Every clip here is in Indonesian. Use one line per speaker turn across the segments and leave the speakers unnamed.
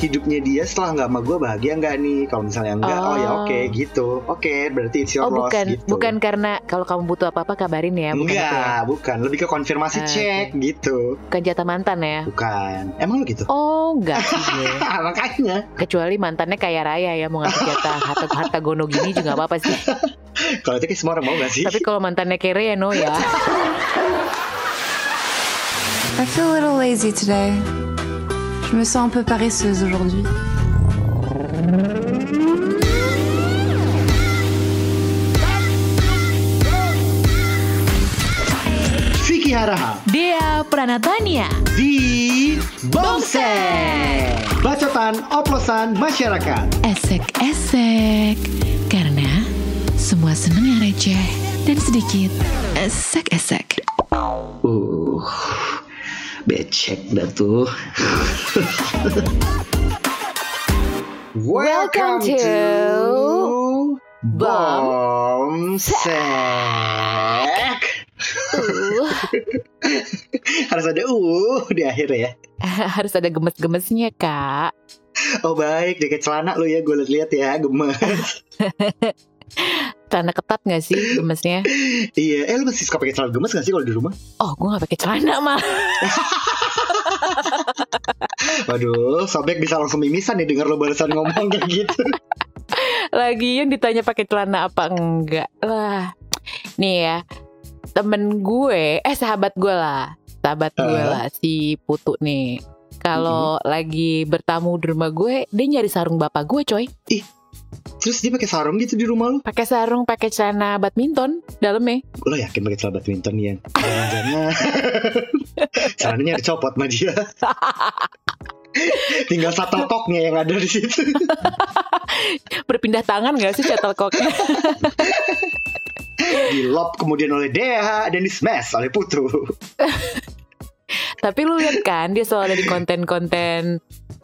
hidupnya dia setelah nggak sama gue bahagia nggak nih kalau misalnya enggak oh,
Oh.
ya oke gitu oke berarti it's your
Oh
loss
bukan,
gitu
bukan karena kalau kamu butuh apa-apa kabarin ya, bukan itu ya.
Enggak, bukan. Lebih ke konfirmasi
Ah,
cek gitu.
Bukan jatah mantan ya.
Bukan. Emang lu gitu?
Oh enggak sih gue.
Ah, makanya.
Kecuali mantannya kayak Raya ya mau ngasih jatah harta, harta gono gini juga nggak apa-apa sih.
Kalau itu kayak semua orang mau gak sih?
Tapi kalau mantannya kere ya no ya.
I feel a little lazy today. Je me sens un peu paresseuse aujourd'hui.
Vicky Haraha
Dia Pranatania.
di Bongseng. Bacotan oplosan masyarakat.
Esek-esek. Karena semua seneng receh dan sedikit esek-esek.
Uh, becek dah tuh.
Welcome to
Bongsek.
Uh,
Harus ada uh di akhir ya.
harus ada gemes-gemesnya kak.
Oh baik, jaket celana lu ya gue lihat-lihat ya gemes.
Celana ketat gak sih gemesnya?
iya, eh lu masih suka pakai celana gemes gak sih kalau di rumah?
Oh gue gak pakai celana mah.
Waduh, sobek bisa langsung mimisan nih denger lu barusan ngomong kayak gitu.
Lagian ditanya pakai celana apa enggak lah. Nih ya, temen gue, eh sahabat gue lah, sahabat gue
Eh.
lah si Putu nih. Kalau lagi bertamu di rumah gue, dia nyari sarung bapak gue, coy.
Terus dia pakai sarung gitu di rumah lu?
Pakai sarung, pakai celana badminton dalamnya.
Lo yakin pakai celana badminton ya? Jangan-jangan celananya dicopot sama dia. Tinggal satokoknya yang ada di situ.
Berpindah tangan gak sih shuttlecocknya?
Di lob kemudian oleh Dea dan di smash oleh Putru.
Tapi lu lihat kan, dia selalu ada di konten-konten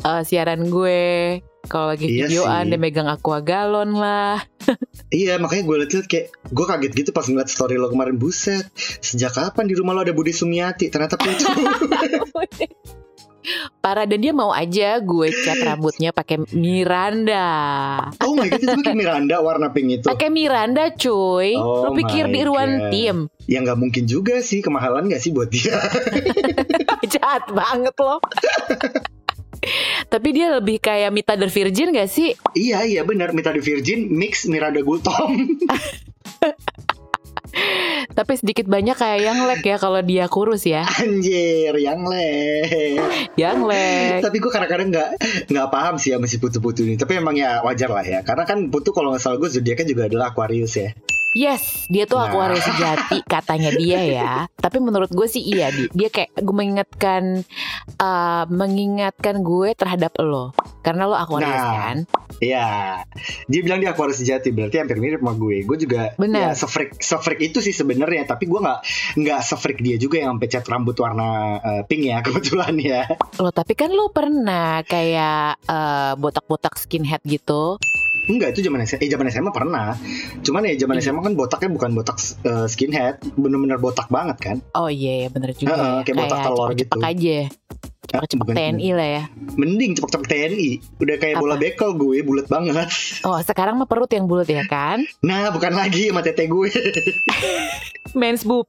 eh, siaran gue. Kalau lagi
Iya
videoan,
sih.
dia megang aqua galon lah.
Iya makanya gue liat-liat kayak gue kaget gitu pas ngeliat story lo kemarin buset. Sejak kapan di rumah lo ada Budi Sumiati? Ternyata Putru.
Parah dan dia mau aja gue cat rambutnya pakai Miranda.
oh my god itu pakai Miranda warna pink itu.
Pakai Miranda cuy.
Oh
Lu pikir
my
di Irwan
God.
Tim
Ya nggak mungkin juga sih kemahalan nggak sih buat dia?
jahat banget loh. Tapi dia lebih kayak Mita the Virgin gak sih?
iya iya benar Mita the Virgin mix Miranda Gultom.
Tapi sedikit banyak kayak yang leg ya kalau dia kurus ya.
Anjir yang leh.
Yang leg.
Tapi gue kadang-kadang nggak nggak paham sih ya masih putu-putu ini. Tapi emang ya wajar lah ya. Karena kan putu kalau nggak salah gue zodiaknya juga adalah Aquarius ya.
Yes, dia tuh
Nah.
Aquarius sejati katanya dia ya. Tapi menurut gue sih iya Di. Dia kayak gue mengingatkan eh, mengingatkan gue terhadap lo. Karena lo Aquarius
Nah.
kan.
Iya. Dia bilang dia Aquarius sejati. Berarti hampir mirip sama gue. Gue juga ya
Benar.
sefreak sefreak itu sih sebenarnya. Tapi gue nggak nggak sefreak dia juga yang sampai cat rambut warna eh, pink ya kebetulan ya.
Loh tapi kan lo pernah kayak eh, botak-botak skinhead gitu
Enggak itu zaman SMA, eh zaman SMA pernah. Cuman ya
Iya.
zaman SMA kan botaknya bukan botak eh, skinhead, bener-bener botak banget kan.
Oh iya ya bener juga
Heeh,
ya.
kayak botak telur gitu.
cepak-cepak aja Cepak
Bukan-
TNI lah ya
Mending cepet-cepet TNI, udah kayak
Apa?
bola bekel gue, bulat banget.
Oh sekarang mah perut yang bulat ya kan
Nah bukan lagi sama tete gue,
Mens boob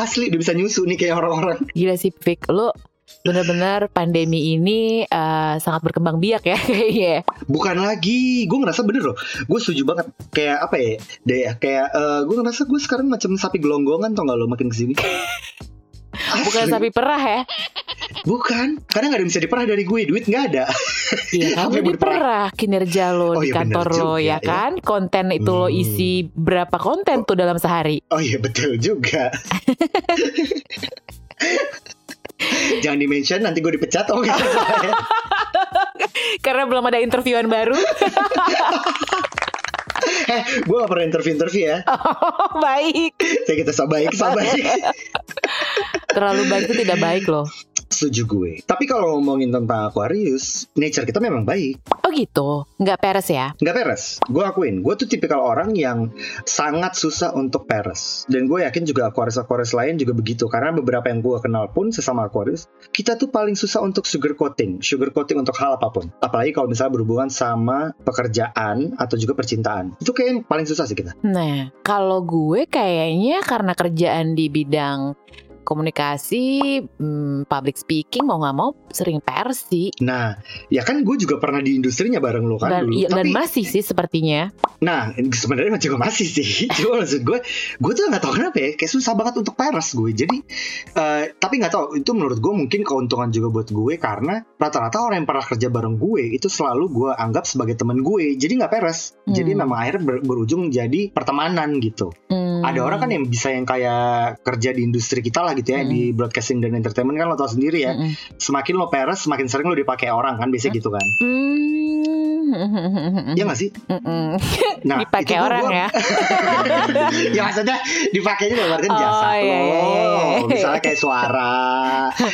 asli udah bisa nyusu nih kayak orang-orang.
Gila sih Vic Lo bener-bener pandemi ini eh, sangat berkembang biak ya kayaknya
Bukan lagi, gue ngerasa bener loh, gue setuju banget. Kayak apa ya, deh kayak eh, gue ngerasa gue sekarang macam sapi gelonggongan tau gak lo makin kesini.
Bukan
Asli.
sapi perah ya
Bukan, karena gak ada yang bisa diperah dari gue, duit gak ada.
Iya
Sapi
kamu diperah kinerja lo
Oh,
di
iya, bener
kantor lo
juga,
ya
ya.
kan Konten itu lo
Hmm.
isi berapa konten tuh dalam sehari
Oh iya betul juga. Jangan di mention nanti gue dipecat oh nggak salah ya.
Karena belum ada interviewan baru
Eh, gue gak pernah interview-interview ya. gitu,
Oh baik
Saya kita sabaik, sabaik.
Terlalu baik itu tidak baik loh
setuju gue. Tapi kalau ngomongin tentang Aquarius, nature kita memang baik.
Oh gitu, nggak peres ya?
Nggak peres. Gue akuin, gue tuh tipikal orang yang sangat susah untuk peres. Dan gue yakin juga Aquarius-Aquarius lain juga begitu. Karena beberapa yang gue kenal pun sesama Aquarius, kita tuh paling susah untuk sugar coating. Sugar coating untuk hal apapun. Apalagi kalau misalnya berhubungan sama pekerjaan atau juga percintaan. Itu kayak yang paling susah sih kita.
Nah, kalau gue kayaknya karena kerjaan di bidang komunikasi, hmm, public speaking mau nggak mau sering peres sih.
Nah, ya kan gue juga pernah di industrinya bareng lo kan
Dan,
dulu.
iya, dan
Tapi,
masih sih sepertinya.
nah sebenarnya juga masih sih. Cuma maksud gue, gue tuh nggak tahu kenapa ya, kayak susah banget untuk peres gue. Jadi, eh, tapi nggak tahu itu menurut gue mungkin keuntungan juga buat gue karena rata-rata orang yang pernah kerja bareng gue itu selalu gue anggap sebagai teman gue. Jadi nggak peres. Jadi
Hmm.
memang akhirnya ber- berujung jadi pertemanan gitu.
Hmm.
Ada orang kan yang bisa yang kayak kerja di industri kita lah gitu ya
Hmm.
di broadcasting dan entertainment kan lo tau sendiri ya.
Mm-mm.
Semakin lo peres, semakin sering lo dipakai orang kan biasanya gitu kan.
Hmm.
Iya nggak sih?
Mm-mm.
Nah,
Dipakai
itu gua-
orang
gua-
ya.
ya maksudnya dipakainya dalam artian
Oh,
jasa
iya,
lo.
iya, iya.
Misalnya kayak suara,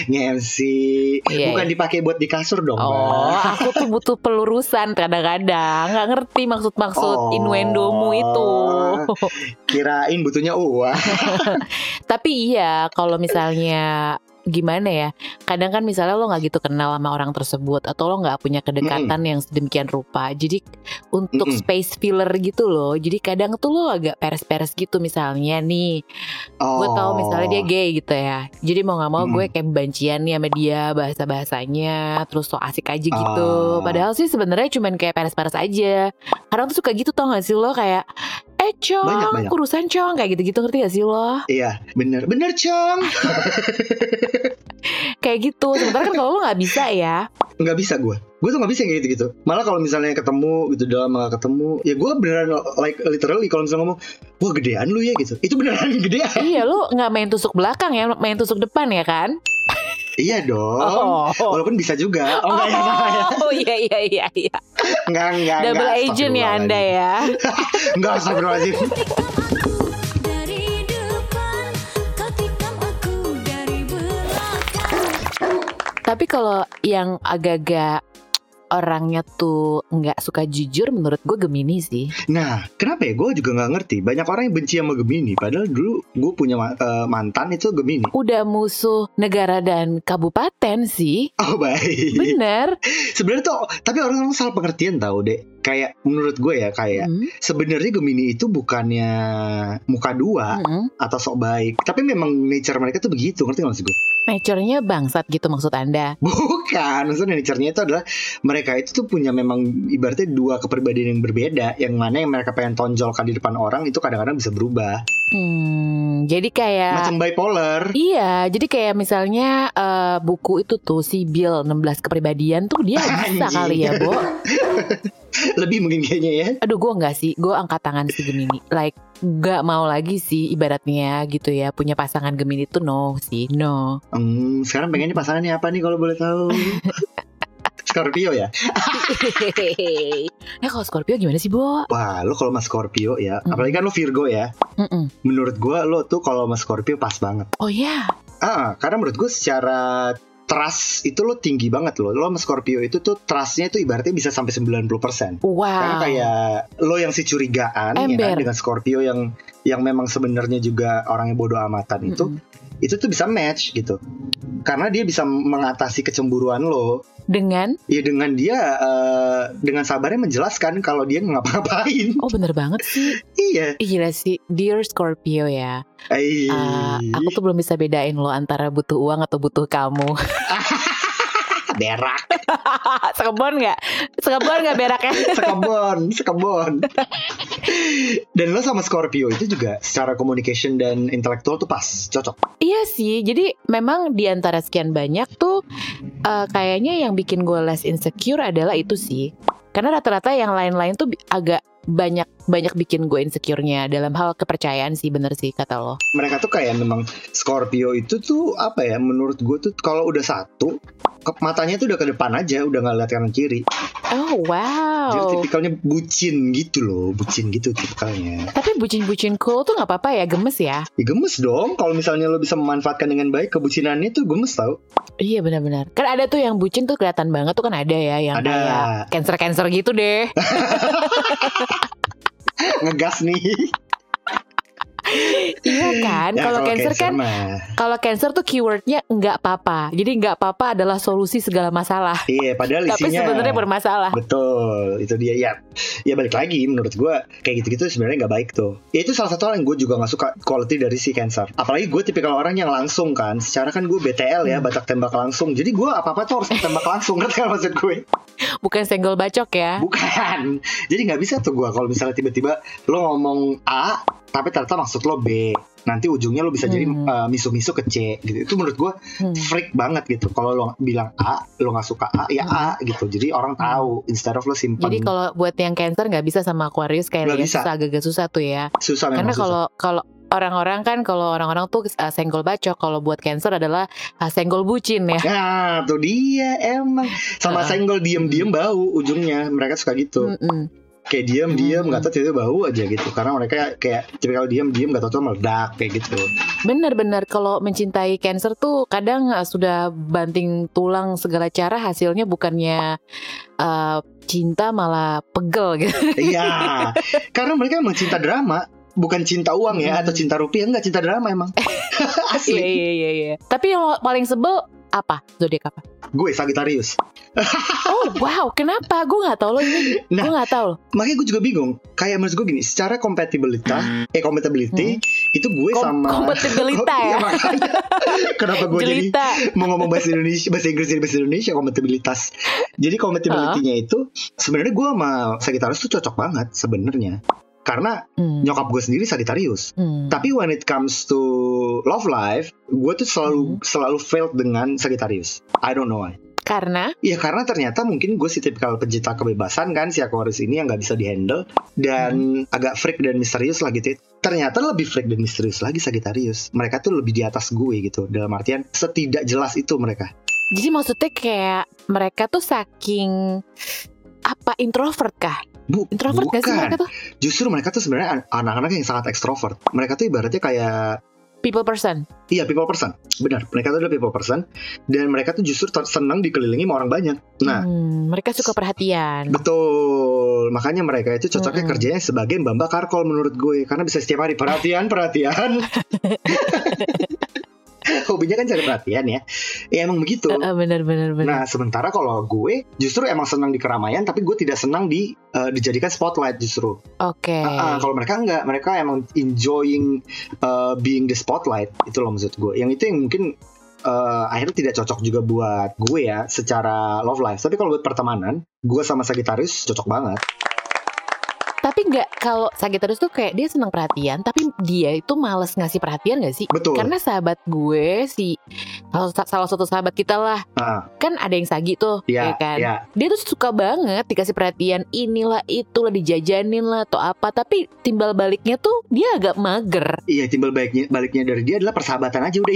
nge-MC.
Iya,
Bukan
iya.
dipakai buat di kasur dong.
Oh,
Mbak.
aku tuh butuh pelurusan kadang-kadang. Nggak ngerti maksud-maksud
Oh.
innuendomu itu.
Kirain butuhnya uang.
Tapi iya, kalau misalnya gimana ya kadang kan misalnya lo nggak gitu kenal sama orang tersebut atau lo nggak punya kedekatan yang sedemikian rupa jadi untuk
Mm-mm.
space filler gitu loh jadi kadang tuh lo agak peres-peres gitu misalnya nih
Oh.
gue tahu misalnya dia gay gitu ya jadi mau nggak mau
Mm-mm.
gue kayak bencian nih sama dia bahasa bahasanya terus so asik aja gitu
Ah.
padahal sih sebenarnya cuman kayak peres-peres aja kadang tuh suka gitu tau gak sih lo kayak eh cong
Banyak, banyak.
urusan cong kayak gitu-gitu ngerti gak sih lo
Iya, bener. Bener, Cong.
kayak gitu sementara kan kalau lo nggak bisa ya
Nggak bisa gue. Gue tuh nggak bisa yang kayak gitu-gitu. Malah kalau misalnya ketemu gitu dalam nggak ketemu, ya gue beneran like literally kalau misalnya ngomong, wah gedean lu ya gitu. Itu beneran gedean.
iya lo nggak main tusuk belakang ya main tusuk depan ya kan
iya dong.
oh
Walaupun bisa juga. Oh, enggak, ya, salah ya.
Oh, iya iya iya iya
Enggak, enggak,
double
enggak.
agent ya anda
Astagfirullahaladzim.
ya
Enggak, astagfirullahaladzim.
Dari depan, kau tikam aku dari belakang.
tapi kalau yang agak-agak orangnya tuh nggak suka jujur menurut gue Gemini sih
Nah, kenapa ya? Gue juga nggak ngerti. Banyak orang yang benci sama Gemini. Padahal dulu gue punya ma- eh, mantan itu Gemini.
udah musuh negara dan kabupaten sih
Oh baik.
bener
Sebenarnya tuh, tapi orang orang salah pengertian tau deh. Kayak menurut gue ya kayak
Hmm,
sebenarnya Gemini itu bukannya muka dua
hmm.
atau sok baik, tapi memang nature mereka tuh begitu, ngerti nggak maksud gue?
nature-nya bangsat gitu maksud anda
Bukan, maksudnya nature-nya itu adalah mereka itu tuh punya memang ibaratnya dua kepribadian yang berbeda, yang mana yang mereka pengen tonjolkan di depan orang itu kadang-kadang bisa berubah,
hmm, jadi kayak
macam bipolar.
Iya, jadi kayak misalnya eh, buku itu tuh Sibil 16 kepribadian tuh dia
Anjing.
bisa kali ya, Bo. Iya.
lebih mungkin kayaknya ya
Aduh, gue enggak sih. Gue angkat tangan si Gemini. Like nggak mau lagi sih ibaratnya gitu ya punya pasangan Gemini tuh no sih no
hmm, sekarang pengennya pasangannya apa nih kalau boleh tahu Scorpio ya
ya kalau Scorpio gimana sih Bo?
wah lo kalau mas Scorpio ya
Mm.
apalagi kan lo Virgo ya
Mm-mm.
menurut gua lo tuh kalau mas Scorpio pas banget
Oh ya,
ah karena menurut gua secara trust itu lo tinggi banget lo lo sama Scorpio itu tuh trustnya itu ibaratnya bisa sampai 90% karena
wow.
kayak ya? lo yang si curigaan ya kan
Ember.
dengan Scorpio yang yang memang sebenarnya juga orang yang bodoh amatan itu
Mm-mm.
itu tuh bisa match gitu karena dia bisa mengatasi kecemburuan lo
dengan
Ya dengan dia eh, dengan sabarnya menjelaskan kalau dia ngapa-ngapain.
oh bener banget sih
Iya.
Ih, gila sih dear Scorpio ya
Ai.
Ah, aku tuh belum bisa bedain lo antara butuh uang atau butuh kamu
berak,
sekebon nggak sekebon nggak beraknya
sekebon, sekebon. dan lo sama Scorpio itu juga secara communication dan intelektual tuh pas, cocok.
Iya sih, jadi memang di antara sekian banyak tuh eh, kayaknya yang bikin gue less insecure adalah itu sih. Karena rata-rata yang lain-lain tuh bi- agak banyak banyak bikin gue insecure-nya dalam hal kepercayaan sih bener sih kata lo.
Mereka tuh kayak memang Scorpio itu tuh apa ya? Menurut gue tuh kalau udah satu ke- matanya tuh udah ke depan aja, udah nggak lihat kanan kiri.
Oh
Jadi
wow.
tipikalnya bucin gitu loh, bucin gitu tipikalnya.
Tapi bucin-bucin cool tuh nggak apa-apa ya, gemes ya.
Ya gemes dong, kalau misalnya lo bisa memanfaatkan dengan baik kebucinannya tuh gemes tau.
Iya benar-benar. Kan ada tuh yang bucin tuh kelihatan banget tuh kan ada ya yang
Ada.
kayak cancer-cancer gitu deh.
Ngegas nih.
iya kan?
Ya,
Kalau cancer kan
mah.
kalau cancer tuh keywordnya nggak apa-apa. Jadi nggak apa-apa adalah solusi segala masalah.
Iya, padahal
Tapi
isinya.
sebenarnya bermasalah.
Betul, itu dia ya. Ya balik lagi menurut gue kayak gitu-gitu sebenarnya nggak baik tuh. Ya, itu salah satu hal yang gue juga nggak suka quality dari si cancer. Apalagi gue tipikal orang yang langsung kan. Secara kan gue BTL
Hmm.
ya, batak tembak langsung. Jadi gue apa-apa tuh harus tembak langsung ngerti kan maksud gue?
Bukan senggol bacok ya.
Bukan. Jadi nggak bisa tuh gue kalau misalnya tiba-tiba lo ngomong A tapi ternyata maksud lo B. Nanti ujungnya lo bisa jadi
Hmm.
uh, misu-misu ke C gitu. Itu menurut gue
Hmm.
freak banget gitu. Kalau lo bilang A, lo nggak suka A, ya A gitu. Jadi orang tahu instead of lo simpen.
Hmm. Jadi kalau buat yang cancer nggak bisa sama Aquarius
Nggak
kayaknya
bisa.
susah agak-agak susah tuh ya.
susah
Karena
memang susah.
kalau kalau orang-orang kan kalau orang-orang tuh eh, senggol bacok, kalau buat cancer adalah eh, senggol bucin ya.
Nah, tuh dia emang sama
Heeh. Hmm.
senggol diem-diem bau ujungnya. Mereka suka gitu.
Mm-mm.
Kayak diem-diem
Hmm.
nggak tahu tiba-tiba bau aja gitu. Karena mereka kayak tipikal diem-diem nggak tahu tuh meledak kayak gitu.
Bener-bener kalau mencintai cancer tuh kadang eh, sudah banting tulang segala cara hasilnya bukannya eh, cinta malah pegel gitu.
Iya. Karena mereka emang cinta drama, bukan cinta uang ya
Hmm.
atau cinta rupiah enggak cinta drama emang.
Iya
Asli.
iya iya. iya. Tapi yang paling sebel apa zodiak apa?
Gue Sagittarius.
Oh wow, kenapa? Gue nggak tahu loh ini.
Nah.
Gue nggak tahu loh.
Makanya gue juga bingung. Kayak maksud gue gini, secara compatibilitas, eh compatibility itu gue
Kom-
sama Iya,
Kompatibilita Hmm. ya.
makanya. Kenapa gue jadi
Jelita.
mau ngomong bahasa Indonesia bahasa Inggris jadi bahasa Indonesia kompatibilitas jadi kompatibility-nya itu sebenarnya gue sama Sagittarius tuh cocok banget sebenarnya karena
Hmm.
nyokap gue sendiri Sagittarius
Hmm.
tapi when it comes to love life gue tuh
Mhm.
selalu selalu failed dengan Sagittarius I don't know why
Karena
ya karena ternyata mungkin gue si tipikal pencipta kebebasan kan si Aquarius ini yang nggak bisa dihandle dan
Mhm.
agak freak dan misterius lah gitu ternyata lebih freak dan misterius lagi Sagittarius mereka tuh lebih di atas gue gitu dalam artian setidak jelas itu mereka
Jadi maksudnya kayak mereka tuh saking apa introvert kah?
Bu-
Introvert gak sih
bukan.
mereka tuh?
Justru mereka tuh sebenarnya an- anak-anak yang sangat ekstrovert. Mereka tuh ibaratnya kayak
People person.
iya people person. Benar, mereka tuh adalah people person dan mereka tuh justru ter- senang dikelilingi sama orang banyak. Nah,
Hmm, mereka suka perhatian.
betul. Makanya mereka itu cocoknya
Mm-mm.
kerjanya sebagai mbak karkol menurut gue karena bisa setiap hari perhatian, perhatian. Hobinya kan cari perhatian ya. Ya emang begitu.
Eh, eh, bener bener bener.
Nah, sementara kalau gue justru emang senang di keramaian tapi gue tidak senang di eh, dijadikan spotlight justru.
Oke.
Ah, ah, kalau mereka enggak, mereka emang enjoying uh, being the spotlight. Itu loh maksud gue. Yang itu yang mungkin uh, akhirnya tidak cocok juga buat gue ya secara love life. Tapi kalau buat pertemanan, gue sama Sagittarius cocok banget.
Tapi nggak kalau Sagittarius tuh kayak dia senang perhatian, tapi dia itu males ngasih perhatian gak sih?
Betul.
Karena sahabat gue si salah, salah satu sahabat kita lah,
Ah,
kan ada yang Sagi tuh,
Iya,
ya kan?
iya.
Dia tuh suka banget dikasih perhatian inilah itulah dijajanin lah atau apa, tapi timbal baliknya tuh dia agak mager.
Iya, timbal baliknya baliknya dari dia adalah persahabatan aja udah.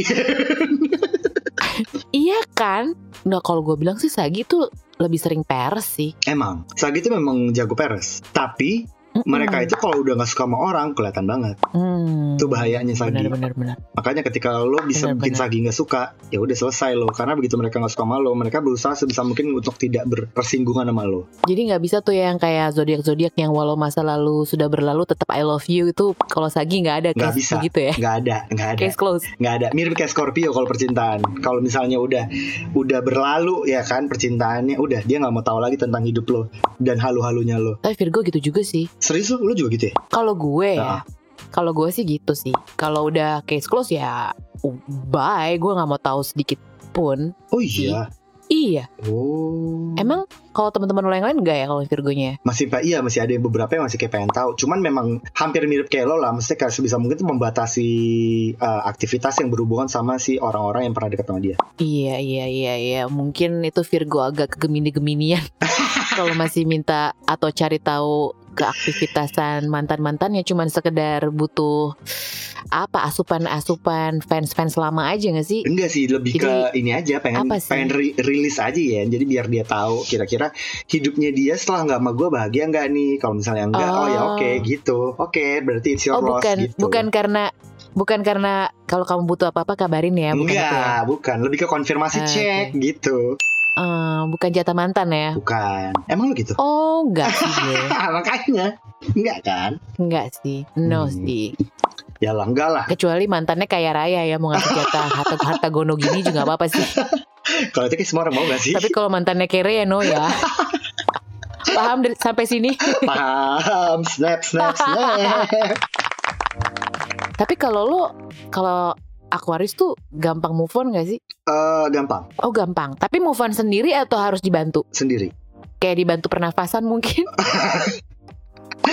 Iya kan? Nah kalau gue bilang sih Sagi tuh lebih sering pers sih.
emang. Sagi itu memang jago peres, tapi
Mm-mm.
mereka itu kalau udah nggak suka sama orang kelihatan banget.
Hmm.
Itu bahayanya Sagi.
Benar-benar benar.
Makanya ketika lo bisa
Benar,
bikin
benar.
Sagi nggak suka, ya udah selesai lo. Karena begitu mereka nggak suka sama lo, mereka berusaha sebisa mungkin untuk tidak bersinggungan sama lo.
Jadi nggak bisa tuh yang kayak zodiak-zodiak yang walau masa lalu sudah berlalu tetap I love you itu kalau Sagi nggak ada
Nggak
case
bisa.
gitu ya.
Nggak ada, nggak ada,
Case close.
nggak ada. Mirip kayak Scorpio kalau percintaan. Kalau misalnya udah udah berlalu ya kan percintaannya, udah dia nggak mau tahu lagi tentang hidup lo dan halu-halunya lo.
Tapi Virgo gitu juga sih.
Serius lo, lo juga gitu ya?
Kalau gue ya, kalau gue sih gitu sih. Kalau udah case close ya oh, bye, gue nggak mau tahu sedikit pun.
Oh iya.
Iya.
Oh.
Emang kalau teman-teman lo yang lain nggak ya kalau Virgonya?
masih pa- iya masih ada yang beberapa yang masih kayak pengen tahu cuman memang hampir mirip kayak lo lah maksudnya kayak sebisa mungkin tuh membatasi eh, aktivitas yang berhubungan sama si orang-orang yang pernah dekat sama dia
Iya iya iya iya mungkin itu Virgo agak kegemini-geminian kalau masih minta atau cari tahu keaktivitasan mantan-mantannya cuman sekedar butuh apa asupan-asupan fans-fans lama aja gak sih?
Enggak sih, lebih ke ini aja pengen
apa sih?
pengen ri- rilis aja ya. Jadi biar dia tahu kira-kira hidupnya dia setelah nggak sama gue bahagia nggak nih. Kalau misalnya enggak, oh, ya
Oh.
oke gitu. Oke, berarti it's your
Oh
loss
bukan,
gitu.
bukan karena bukan karena kalau kamu butuh apa-apa kabarin ya, bukan
enggak,
itu ya.
bukan. Lebih ke konfirmasi
Ah, oke.
cek gitu.
Eh, bukan jatah mantan ya.
Bukan. Emang lu gitu?
Oh enggak sih gue.
Ah, makanya. Enggak kan?
Enggak sih No
Hmm.
sih
Ya lah, enggak lah.
Kecuali mantannya kaya raya ya Mau ngasih jatah harta, harta gono gini juga gak apa-apa sih
Kalau itu kayak semua orang mau gak sih?
Tapi kalau mantannya kere ya no ya Paham dari- sampai sini
Paham. Snap, snap, snap.
Tapi kalau lo Kalau Aquarius tuh gampang move on gak sih?
Eh, gampang.
Oh gampang Tapi move on sendiri atau harus dibantu?
Sendiri.
Kayak dibantu pernafasan mungkin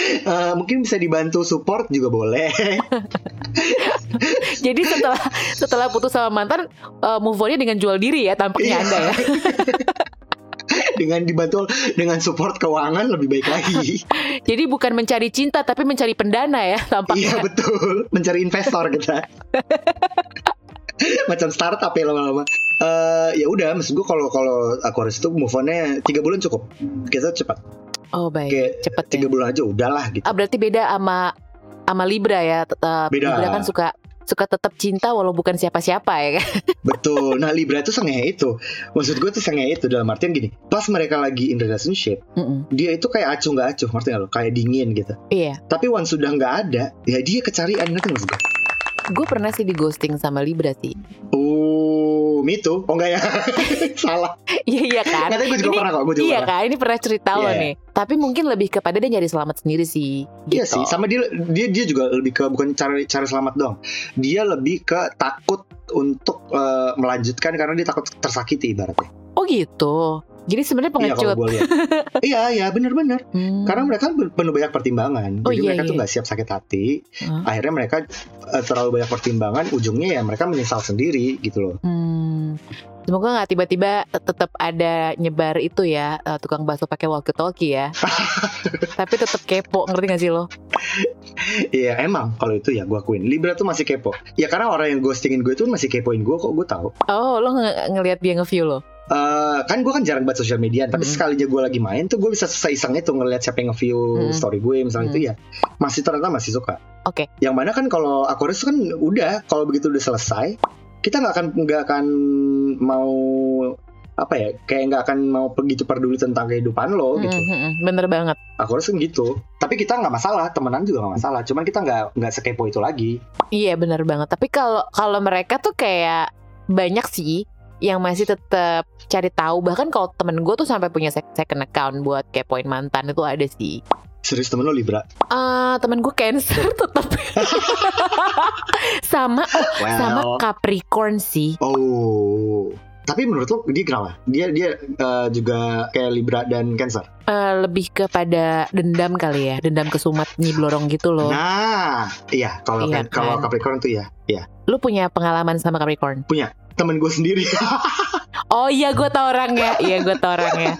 Eh, mungkin bisa dibantu support juga boleh.
Jadi setelah setelah putus sama mantan eh, Move onnya dengan jual diri ya
Iya.
Tampaknya anda ya
dengan dibantu dengan support keuangan lebih baik lagi.
Jadi bukan mencari cinta Tapi mencari pendana ya Tampaknya
iya betul, mencari investor kita. Macam startup ya lama-lama. Eh ya udah, maksud gue kalau kalau Aquarius itu move onnya tiga bulan cukup. Kita cepat,
Oh baik
Kayak
Cepet ya
tiga bulan aja udahlah gitu.
Ah berarti beda sama sama Libra ya. Tetap
Beda.
Libra kan suka suka tetap cinta walau bukan siapa-siapa ya kan.
Betul. Nah Libra tuh sengehe itu. Maksud gue tuh sengehe itu dalam artian gini. Pas mereka lagi in relationship,
Mm-mm.
dia itu kayak acuh nggak acuh, ngerti nggak lo? Kayak dingin gitu.
Iya.
Tapi once sudah nggak ada, ya dia kecarian ngerti nggak maksud gue?
Gue pernah sih di ghosting sama Libra sih.
Oh, itu? Oh enggak ya? Salah.
Iya iya kan.
Katanya gue juga
Ini-
pernah kok, gue juga
Iya
pernah.
kan. Ini pernah cerita lo
Iya.
nih. Tapi mungkin lebih kepada dia nyari selamat sendiri sih. Gitu.
Iya sih, sama dia dia dia juga lebih ke bukan cari cari selamat dong. Dia lebih ke takut untuk eh, melanjutkan karena dia takut tersakiti ibaratnya.
Oh gitu. Jadi sebenarnya
Iya kalau
pengecut.
gue lihat. iya iya benar-benar.
Hmm.
Karena mereka penuh banyak pertimbangan.
Oh,
Jadi
iya,
mereka tuh
iya.
nggak siap sakit hati.
Hah?
Akhirnya mereka eh, terlalu banyak pertimbangan. Ujungnya ya mereka menyesal sendiri gitu loh.
Hmm. Semoga nggak tiba-tiba te- tetap ada nyebar itu ya eh, tukang bakso pakai walkie talkie ya. Tapi tetap kepo ngerti gak sih lo?
Iya emang kalau itu ya gue akuin. Libra tuh masih kepo. Ya karena orang yang ghostingin gue tuh masih kepoin gue kok gue tahu.
Oh lo nge- ngelihat dia nge-view lo?
Eh, kan gue kan jarang buat sosial media tapi
Mm.
sekalinya gue lagi main tuh gue bisa seiseng itu ngeliat siapa yang nge-view
Mm.
story gue misalnya
Mm.
itu ya masih ternyata masih suka
Oke.
yang mana kan kalau Aquarius kan udah kalau begitu udah selesai kita nggak akan nggak akan mau apa ya kayak nggak akan mau begitu peduli tentang kehidupan lo gitu
Mm, mm, mm. Bener banget.
Aquarius kan gitu tapi kita nggak masalah temenan juga nggak masalah cuman kita nggak nggak sekepo itu lagi
Iya bener banget. Tapi kalau kalau mereka tuh kayak banyak sih yang masih tetap cari tahu. Bahkan kalau temen gue tuh sampai punya sec- second account buat kepoin mantan itu ada sih.
serius temen lo Libra
Ah temen gue cancer tetap sama sama Capricorn sih.
oh tapi menurut lo dia kenapa dia dia eh, juga kayak Libra dan Cancer
Eh, lebih kepada dendam kali ya, dendam kesumat nyiblorong gitu loh.
Nah, iya kalau
Iya,
kalau
kan?
Capricorn tuh ya, ya.
Lu punya pengalaman sama Capricorn?
Temen gue sendiri.
Oh iya gue tau orangnya Iya gue tau orangnya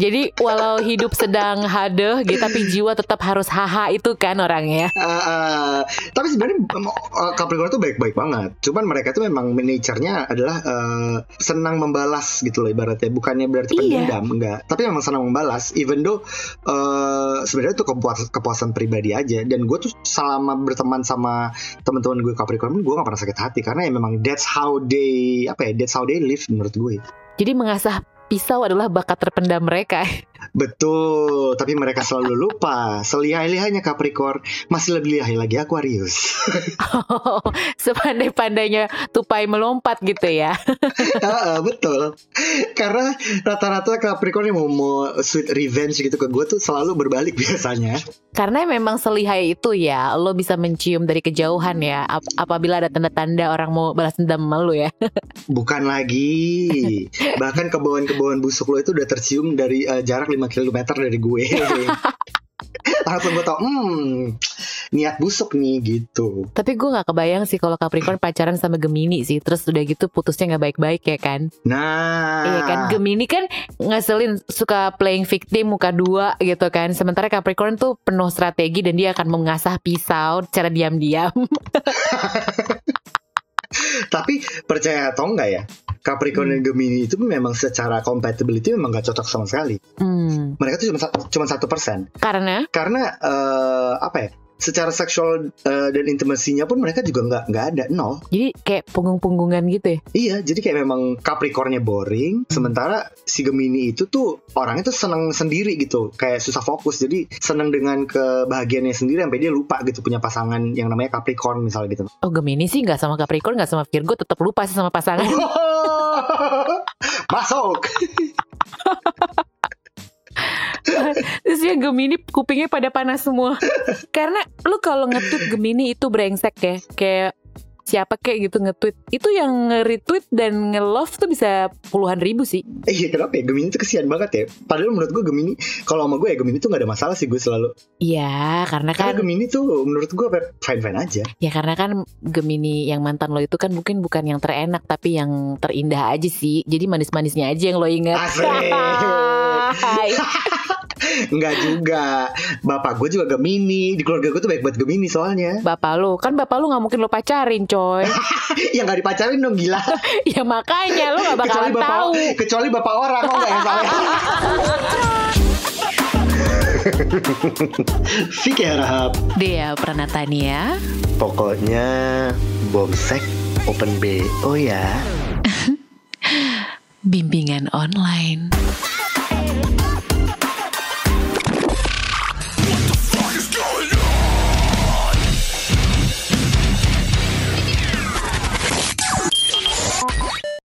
Jadi walau hidup sedang hadeh gitu Tapi jiwa tetap harus haha itu kan orangnya
Eh, eh, tapi sebenarnya em, eh, Capricorn tuh baik-baik banget. Cuman mereka tuh memang nature-nya adalah eh, senang membalas gitu loh ibaratnya. Bukannya berarti
Iya.
pendendam, enggak. Tapi memang senang membalas. Even though eh, sebenarnya itu kepuas- kepuasan pribadi aja. Dan gue tuh selama berteman sama teman-teman gue Capricorn, gue gak pernah sakit hati karena ya memang that's how they apa ya, that's how they live menurut ya. gue.
Jadi mengasah pisau adalah bakat terpendam mereka
Betul, tapi mereka selalu lupa. Selihai-lihainya Capricorn, masih lebih lihai lagi Aquarius.
Sepandai-pandainya tupai melompat gitu ya
Heeh, betul. Karena rata-rata Capricorn yang mau, mau sweet revenge gitu ke gue tuh selalu berbalik biasanya.
Karena memang selihai itu ya Lo bisa mencium dari kejauhan ya ap- Apabila ada tanda-tanda orang mau balas dendam sama lo ya
Bukan lagi. Bahkan kebauan-kebauan busuk lo itu udah tercium dari eh, jarak 5 km dari gue. Langsung gue tau, hmm, niat busuk nih gitu.
Tapi gue nggak kebayang sih kalau Capricorn pacaran sama Gemini sih. Terus udah gitu putusnya nggak baik-baik ya kan?
Nah,
Iya kan Gemini kan ngeselin suka playing victim muka dua gitu kan. Sementara Capricorn tuh penuh strategi dan dia akan mengasah pisau secara diam-diam.
tapi percaya atau enggak ya? Capricorn
Hmm.
dan Gemini itu memang secara compatibility memang gak cocok sama sekali.
Hmm,
Mereka tuh cuma sa- cuma satu persen.
Karena
Karena eh, apa ya? Secara seksual eh, dan intimasinya pun mereka juga nggak nggak ada nol.
jadi kayak punggung-punggungan gitu ya.
Iya, jadi kayak memang Capricornnya boring, sementara si Gemini itu tuh orangnya tuh seneng sendiri gitu, kayak susah fokus, jadi seneng dengan kebahagiaannya sendiri sampai dia lupa gitu punya pasangan yang namanya Capricorn misalnya gitu.
Oh Gemini sih nggak sama Capricorn nggak sama Virgo tetap lupa sih sama pasangan.
Masuk.
Terus ya Gemini kupingnya pada panas semua. Karena lu kalau nge-tweet Gemini itu brengsek ya. Kayak siapa kayak gitu nge-tweet. Itu yang nge-retweet dan nge-love tuh bisa puluhan ribu sih.
Eh, Iya kenapa ya Gemini tuh kesian banget ya. Padahal menurut gue Gemini, kalau sama gue ya Gemini tuh nggak ada masalah sih gue selalu.
Iya, karena kan
Karena Gemini tuh menurut gue fine fine aja.
Ya karena kan Gemini yang mantan lo itu kan mungkin bukan yang terenak tapi yang terindah aja sih. Jadi manis-manisnya aja yang lo ingat.
Asik.
Hai.
Enggak juga. Bapak gue juga Gemini. Di keluarga gue tuh baik banget Gemini soalnya.
bapak lo kan bapak lo nggak mungkin lo pacarin coy.
Yang Ya, nggak dipacarin dong gila.
ya makanya lo nggak bakalan
kecuali bapak
tahu.
kecuali bapak orang kok nggak ya, yang salah Vicky Harahap
Dea Pranatania.
pokoknya bomsek open B oh ya
Bimbingan online.